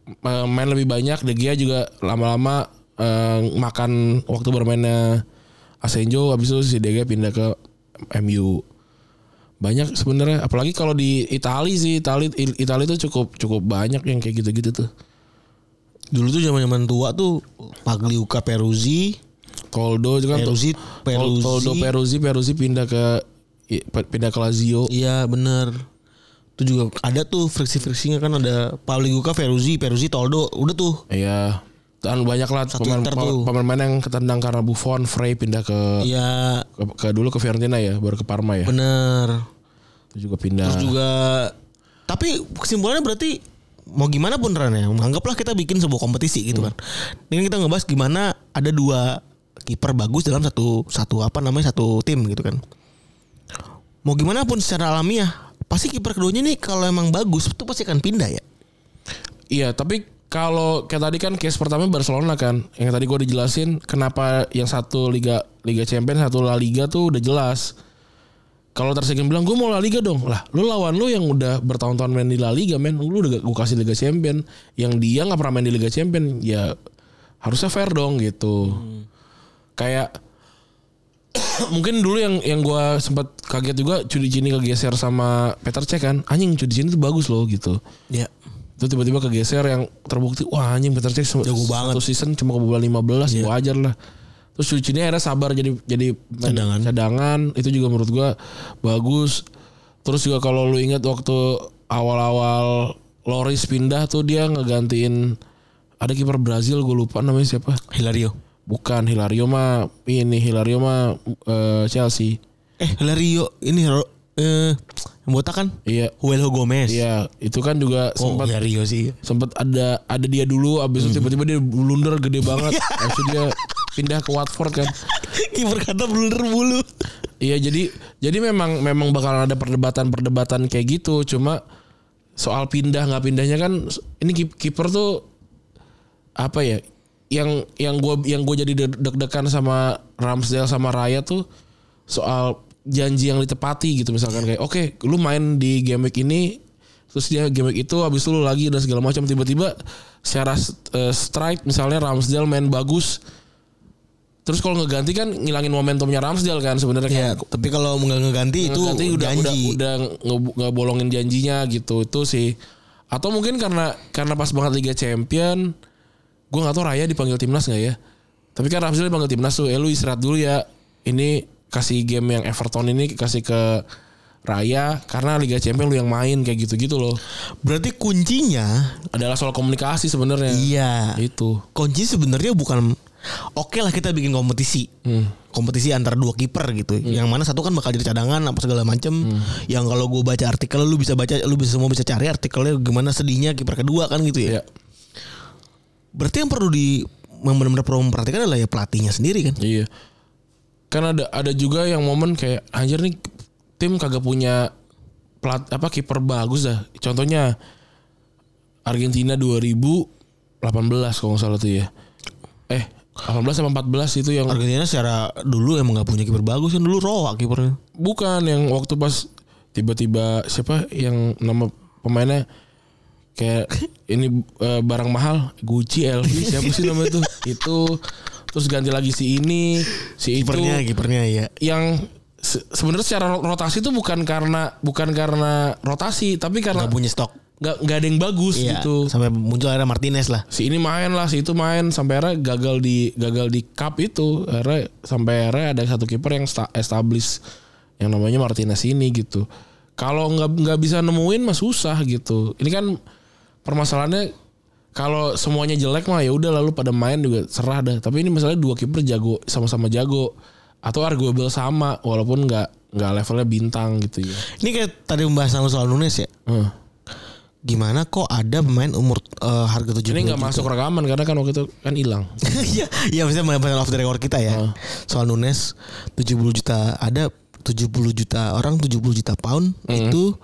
[SPEAKER 3] eh, main lebih banyak, De Gea juga lama-lama eh, makan waktu bermainnya Asenjo habis itu si De Gea pindah ke MU. Banyak sebenarnya, apalagi kalau di Itali sih, Itali I- Itali tuh cukup cukup banyak yang kayak gitu-gitu tuh.
[SPEAKER 2] Dulu tuh zaman-zaman tua tuh Pagliuca Peruzzi,
[SPEAKER 3] Toldo juga kan
[SPEAKER 2] Peruzzi,
[SPEAKER 3] Tol- Toldo
[SPEAKER 2] Peruzzi.
[SPEAKER 3] Peruzzi, Peruzzi pindah ke i- pindah ke Lazio.
[SPEAKER 2] Iya, bener Itu juga ada tuh friksi-friksinya kan ada Pagliuca, Peruzzi, Peruzzi, Toldo. Udah tuh.
[SPEAKER 3] Iya. Dan banyak lah
[SPEAKER 2] Satu
[SPEAKER 3] pemain,
[SPEAKER 2] Inter tuh.
[SPEAKER 3] pemain yang ketendang karena Buffon, Frey pindah ke,
[SPEAKER 2] Iya,
[SPEAKER 3] ke, ke dulu ke Fiorentina ya, baru ke Parma ya.
[SPEAKER 2] bener
[SPEAKER 3] Itu juga pindah.
[SPEAKER 2] Terus juga tapi kesimpulannya berarti mau gimana pun Ran ya anggaplah kita bikin sebuah kompetisi
[SPEAKER 3] Hmm.
[SPEAKER 2] gitu kan ini kita ngebahas gimana ada dua kiper bagus dalam satu satu apa namanya satu tim gitu kan mau gimana pun secara alamiah pasti kiper keduanya nih kalau emang bagus itu pasti akan pindah ya
[SPEAKER 3] Iya, tapi Kalau kayak tadi kan case pertama Barcelona kan, yang tadi gue dijelasin kenapa yang satu Liga Liga Champions, satu La Liga tuh udah jelas. Kalau Ter Stegen bilang gue mau La Liga dong, lah lu lawan lu yang udah bertahun-tahun main di La Liga men, lu udah gue kasih Liga Champion, yang dia nggak pernah main di Liga Champion, ya harusnya fair dong gitu. Kayak (coughs) mungkin dulu yang yang gua sempat kaget juga Cudi Cini kegeser sama Peter Cech kan anjing Cudi Cini tuh bagus loh gitu
[SPEAKER 2] Ya.
[SPEAKER 3] itu tiba-tiba kegeser yang terbukti wah anjing Peter Cech se-
[SPEAKER 2] Jago
[SPEAKER 3] satu
[SPEAKER 2] banget. Iya.
[SPEAKER 3] season cuma kebobolan 15 wajar lah terus Cudi Cini akhirnya sabar jadi jadi main
[SPEAKER 2] Cadangan.
[SPEAKER 3] cadangan itu juga menurut gua bagus terus juga kalau lu ingat waktu awal-awal Loris pindah tuh dia ngegantiin ada kiper Brazil gue lupa namanya siapa
[SPEAKER 2] Hilario.
[SPEAKER 3] Bukan Hilario mah ini Hilario mah eh, Chelsea.
[SPEAKER 2] Eh, Hilario ini Ro- eh yang botak kan?
[SPEAKER 3] Iya,
[SPEAKER 2] Huelho Gomez.
[SPEAKER 3] iya itu kan juga
[SPEAKER 2] Oh,
[SPEAKER 3] sempat
[SPEAKER 2] Hilario
[SPEAKER 3] (laughs)
[SPEAKER 2] sih.
[SPEAKER 3] sempat ada ada dia dulu abis itu tiba-tiba dia blunder gede banget. Abis itu dia pindah ke Watford kan.
[SPEAKER 2] Kiper kata blunder bulu.
[SPEAKER 3] Iya jadi jadi memang memang bakalan ada perdebatan-perdebatan kayak gitu cuma soal pindah nggak pindahnya kan ini kip- kiper tuh apa ya yang yang gue yang gue jadi de- deg-degan sama Ramsdale sama Raya tuh soal janji yang ditepati gitu misalkan kayak oke lu main di game week ini terus dia game week itu habis itu lu lagi dan segala macam tiba-tiba secara eh, strike misalnya Ramsdale main bagus terus kalau ngeganti kan ngilangin momentumnya Ramsdale kan sebenarnya kayak
[SPEAKER 2] Ya, tapi kalau nggak ngeganti itu
[SPEAKER 3] Nanti udah
[SPEAKER 2] janji.
[SPEAKER 3] udah udah nge- ngebolongin janjinya gitu itu sih atau mungkin karena karena pas banget Liga Champion gue nggak tahu Raya dipanggil timnas nggak ya tapi kan Ramsdale dipanggil timnas tuh eh lu istirahat dulu ya ini kasih game yang Everton ini kasih ke Raya karena Liga Champion lu yang main kayak gitu-gitu loh
[SPEAKER 2] Berarti kuncinya
[SPEAKER 3] adalah soal komunikasi sebenarnya
[SPEAKER 2] iya.
[SPEAKER 3] Nah, itu
[SPEAKER 2] Kunci sebenarnya bukan oke lah kita bikin kompetisi.
[SPEAKER 3] Hmm.
[SPEAKER 2] Kompetisi antar dua kiper gitu. Yang mana satu kan bakal jadi cadangan apa segala macem.
[SPEAKER 3] Hmm.
[SPEAKER 2] Yang kalau gue baca artikel lu bisa baca lu bisa semua bisa cari artikelnya gimana sedihnya kiper kedua kan gitu ya.
[SPEAKER 3] ya
[SPEAKER 2] Berarti yang perlu di yang benar-benar perlu memperhatikan adalah ya pelatihnya sendiri kan.
[SPEAKER 3] Iya. Kan ada ada juga yang momen kayak anjir nih tim kagak punya plat apa kiper bagus dah. Contohnya Argentina 2018 kalau nggak salah tuh ya. Eh 18 sama 14 itu yang
[SPEAKER 2] Argentina secara dulu emang nggak punya kiper bagus kan dulu Roa kipernya.
[SPEAKER 3] bukan yang waktu pas tiba-tiba siapa yang nama pemainnya kayak ini eh, barang mahal Gucci LV siapa sih namanya tuh itu terus ganti lagi si ini si itu
[SPEAKER 2] Kipernya kipernya ya.
[SPEAKER 3] yang se- sebenarnya secara ro- rotasi itu bukan karena bukan karena rotasi tapi karena
[SPEAKER 2] Nggak punya stok.
[SPEAKER 3] nggak nggak ada yang bagus
[SPEAKER 2] Iya.
[SPEAKER 3] gitu
[SPEAKER 2] Sampai muncul era Martinez lah.
[SPEAKER 3] si ini main lah si itu main sampai akhirnya gagal di gagal di cup itu akhirnya sampai akhirnya ada satu kiper yang sta- established yang namanya Martinez ini gitu kalau nggak nggak bisa nemuin mah susah gitu ini kan permasalahannya kalau semuanya jelek mah ya udah lalu pada main juga serah dah tapi ini misalnya dua kiper jago sama-sama jago atau arguable sama walaupun nggak nggak levelnya bintang gitu ya
[SPEAKER 2] Ini kayak tadi pembahasan lu soal Nunes ya.
[SPEAKER 3] Hmm.
[SPEAKER 2] Gimana kok ada pemain umur eh, harga 70
[SPEAKER 3] ini nggak masuk rekaman karena kan waktu itu kan Gitu. hilang
[SPEAKER 2] (laughs) Iya, iya maksudnya pembahasan off the record kita ya.
[SPEAKER 3] Heeh.
[SPEAKER 2] Soal Nunes 70 juta ada 70 juta orang 70 juta pound
[SPEAKER 3] Mm-hmm.
[SPEAKER 2] itu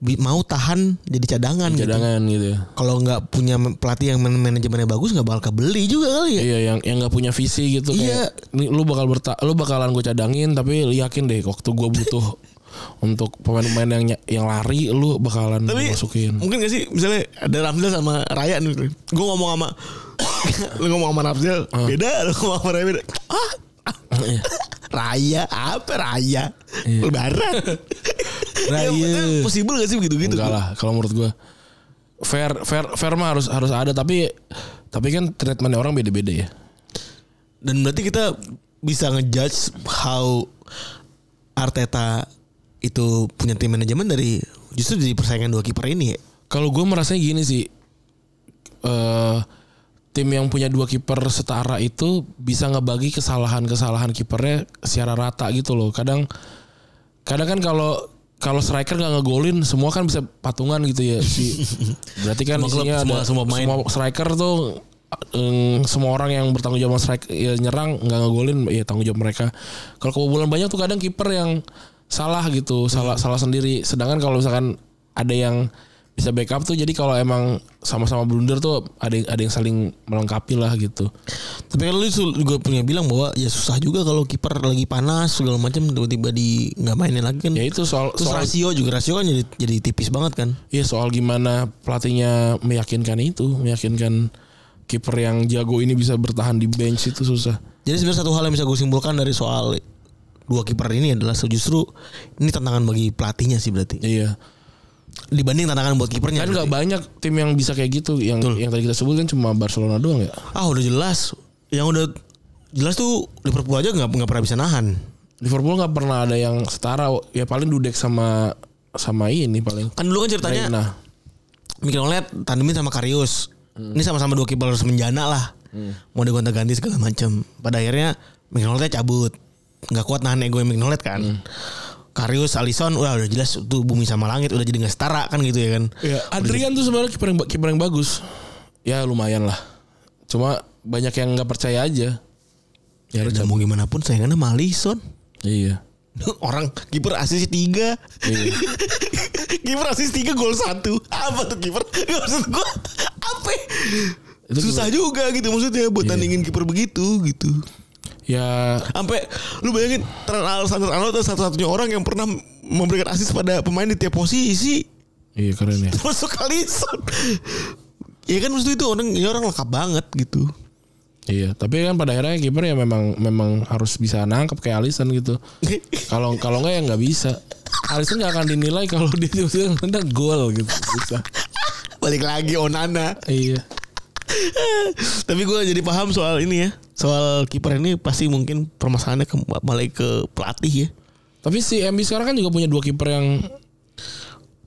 [SPEAKER 2] bi- mau tahan jadi cadangan, gitu.
[SPEAKER 3] cadangan gitu ya
[SPEAKER 2] Kalau nggak punya men- pelatih yang man- manajemennya bagus nggak bakal kebeli juga kali ya.
[SPEAKER 3] Iya yang yang nggak punya visi gitu kayak "Nih, lu bakal berta lu bakalan gue cadangin tapi lu yakin deh waktu gue butuh untuk pemain-pemain yang ny- yang lari lu bakalan
[SPEAKER 2] Tapi gitu.
[SPEAKER 3] masukin.
[SPEAKER 2] mungkin gak sih misalnya ada Ramzal sama Raya nih. Gue ngomong sama (coughs) lu ngomong sama Ramzal beda, lu ngomong sama Raya beda. Ah, ah,
[SPEAKER 3] Ah. Iya.
[SPEAKER 2] (coughs) Raya apa Raya? Lebaran.
[SPEAKER 3] (coughs)
[SPEAKER 2] (coughs)
[SPEAKER 3] Raya.
[SPEAKER 2] Possible gak sih begitu-gitu?
[SPEAKER 3] Enggak lah kalau menurut gue fair fair fair mah harus harus ada tapi tapi kan treatmentnya orang beda-beda ya.
[SPEAKER 2] Dan berarti kita bisa ngejudge how Arteta itu punya tim manajemen dari justru dari persaingan dua kiper ini ya.
[SPEAKER 3] Kalau gue merasanya gini sih eh tim yang punya dua kiper setara itu bisa ngebagi kesalahan-kesalahan kipernya secara rata gitu loh. Kadang kadang kan kalau kalau striker nggak ngegolin semua kan bisa patungan gitu ya si
[SPEAKER 2] (laughs)
[SPEAKER 3] berarti kan
[SPEAKER 2] Semua klub,
[SPEAKER 3] isinya
[SPEAKER 2] semua-
[SPEAKER 3] ada-
[SPEAKER 2] semua pemain.
[SPEAKER 3] striker tuh em, semua orang yang bertanggung jawab sama strike ya, nyerang nggak ngegolin ya tanggung jawab mereka kalau kebobolan banyak tuh kadang kiper yang salah gitu salah salah sendiri sedangkan kalau misalkan ada yang bisa backup tuh jadi kalau emang sama-sama blunder tuh ada yang, ada yang saling melengkapi lah gitu.
[SPEAKER 2] Tapi kan lu sul- juga punya bilang bahwa ya susah juga kalau kiper lagi panas segala macam tiba-tiba di nggak mainin lagi kan.
[SPEAKER 3] Ya itu soal
[SPEAKER 2] Terus
[SPEAKER 3] soal
[SPEAKER 2] rasio juga rasio kan jadi jadi tipis banget kan.
[SPEAKER 3] Iya soal gimana pelatihnya meyakinkan itu, meyakinkan kiper yang jago ini bisa bertahan di bench itu susah.
[SPEAKER 2] Jadi sebenarnya satu hal yang bisa gue simpulkan dari soal dua kiper ini adalah justru ini tantangan bagi pelatihnya sih berarti.
[SPEAKER 3] Iya.
[SPEAKER 2] Dibanding tantangan buat kipernya.
[SPEAKER 3] Kan
[SPEAKER 2] Iya,
[SPEAKER 3] nggak
[SPEAKER 2] berarti.
[SPEAKER 3] banyak tim yang bisa kayak gitu. Yang yang tadi kita sebut kan cuma Barcelona doang ya.
[SPEAKER 2] ah udah jelas. Yang udah jelas tuh Liverpool aja nggak nggak pernah bisa nahan.
[SPEAKER 3] Liverpool nggak pernah ada yang setara. Ya paling Dudek sama sama ini paling.
[SPEAKER 2] Kan dulu kan ceritanya
[SPEAKER 3] Reina.
[SPEAKER 2] Mikel Olet tandemin sama Karius. Ini sama-sama dua kiper semenjana lah. Mau digonta-ganti segala macam. Pada akhirnya Mikel Oletnya cabut. Nggak kuat nahan ego Mikel Olet kan. Karius, Alisson udah udah jelas tuh bumi sama langit udah jadi nggak setara kan gitu ya kan.
[SPEAKER 3] Ya, Adrian tuh sebenarnya kiper yang ba- kiper yang bagus. Ya lumayan lah. Cuma banyak yang nggak percaya aja. Ya,
[SPEAKER 2] Dan mau gimana pun sayangannya sama Alisson. (laughs)
[SPEAKER 3] Iya.
[SPEAKER 2] Orang kiper asis tiga. (laughs)
[SPEAKER 3] Iya.
[SPEAKER 2] kiper asis tiga gol satu. Apa tuh kiper? (laughs) Nggak Maksud gua apa? ya?
[SPEAKER 3] Itu
[SPEAKER 2] Susah juga gitu maksudnya buat tandingin kiper begitu gitu.
[SPEAKER 3] Ya
[SPEAKER 2] sampai lu bayangin Trent Alexander Arnold adalah satu-satunya orang yang pernah memberikan asis pada pemain di tiap posisi (laughs)
[SPEAKER 3] iya keren ya.
[SPEAKER 2] termasuk Alisson ya kan maksud itu orang ya orang lengkap banget gitu
[SPEAKER 3] Iya, tapi kan pada akhirnya kiper ya memang memang harus bisa nangkep kayak Alisson gitu. Kalau kalau nggak ya nggak bisa. Alisson nggak akan dinilai kalau (laughs) dia tiba-tiba nendang gol gitu. Bisa.
[SPEAKER 2] balik lagi Onana
[SPEAKER 3] Iya.
[SPEAKER 2] tapi gue jadi paham soal ini ya soal kiper ini pasti mungkin permasalahannya ke, malah ke pelatih ya
[SPEAKER 3] Tapi si MB sekarang kan juga punya dua kiper yang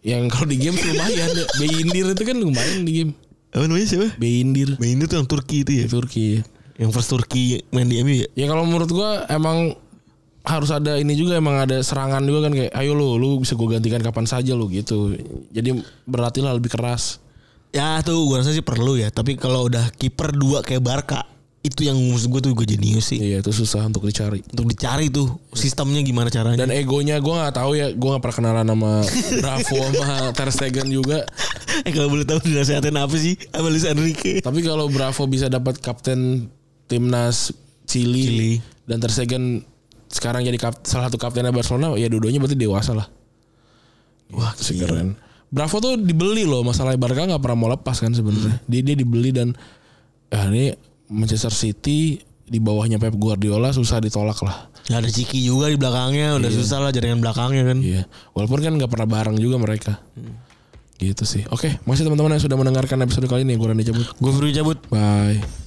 [SPEAKER 3] yang kalau di game lumayan ya. Beindir itu kan lumayan di game.
[SPEAKER 2] apa namanya siapa
[SPEAKER 3] Beindir
[SPEAKER 2] main itu yang Turki itu ya
[SPEAKER 3] di Turki.
[SPEAKER 2] yang first Turki main di MU ya
[SPEAKER 3] Ya kalau menurut gua emang harus ada ini juga emang ada serangan juga kan kayak ayo lu lu bisa gua gantikan kapan saja lu gitu. Jadi berlatihlah lebih keras.
[SPEAKER 2] Ya tuh gue rasa sih perlu ya Tapi kalau udah kiper dua kayak Barca Itu yang maksud gue tuh gue jenius sih
[SPEAKER 3] Iya itu susah untuk dicari.
[SPEAKER 2] Untuk dicari tuh sistemnya gimana caranya
[SPEAKER 3] Dan egonya gue nggak tahu ya, gue nggak pernah kenalan sama Bravo sama Ter Stegen juga.
[SPEAKER 2] (laughs) Eh kalau boleh tahu dinasehatin apa sih Sama Luis Enrique
[SPEAKER 3] Tapi kalau Bravo bisa dapat kapten timnas Chili,
[SPEAKER 2] Chili.
[SPEAKER 3] dan Ter Stegen sekarang jadi kap- salah satu kaptennya Barcelona, ya dua-duanya berarti dewasa lah. Wah, keren. Bravo tuh dibeli loh, masalah Barca nggak pernah mau lepas kan sebenarnya. Dia dia dibeli dan ya ini Manchester City di bawahnya Pep Guardiola susah ditolak lah.
[SPEAKER 2] Ya ada Ciki juga di belakangnya Udah susah lah jaringan belakangnya kan
[SPEAKER 3] Iya, walaupun kan nggak pernah bareng juga mereka. Gitu sih. Oke, makasih teman-teman yang sudah mendengarkan episode kali ini. Gue Randy cabut.
[SPEAKER 2] Gue Firwi cabut
[SPEAKER 3] Bye.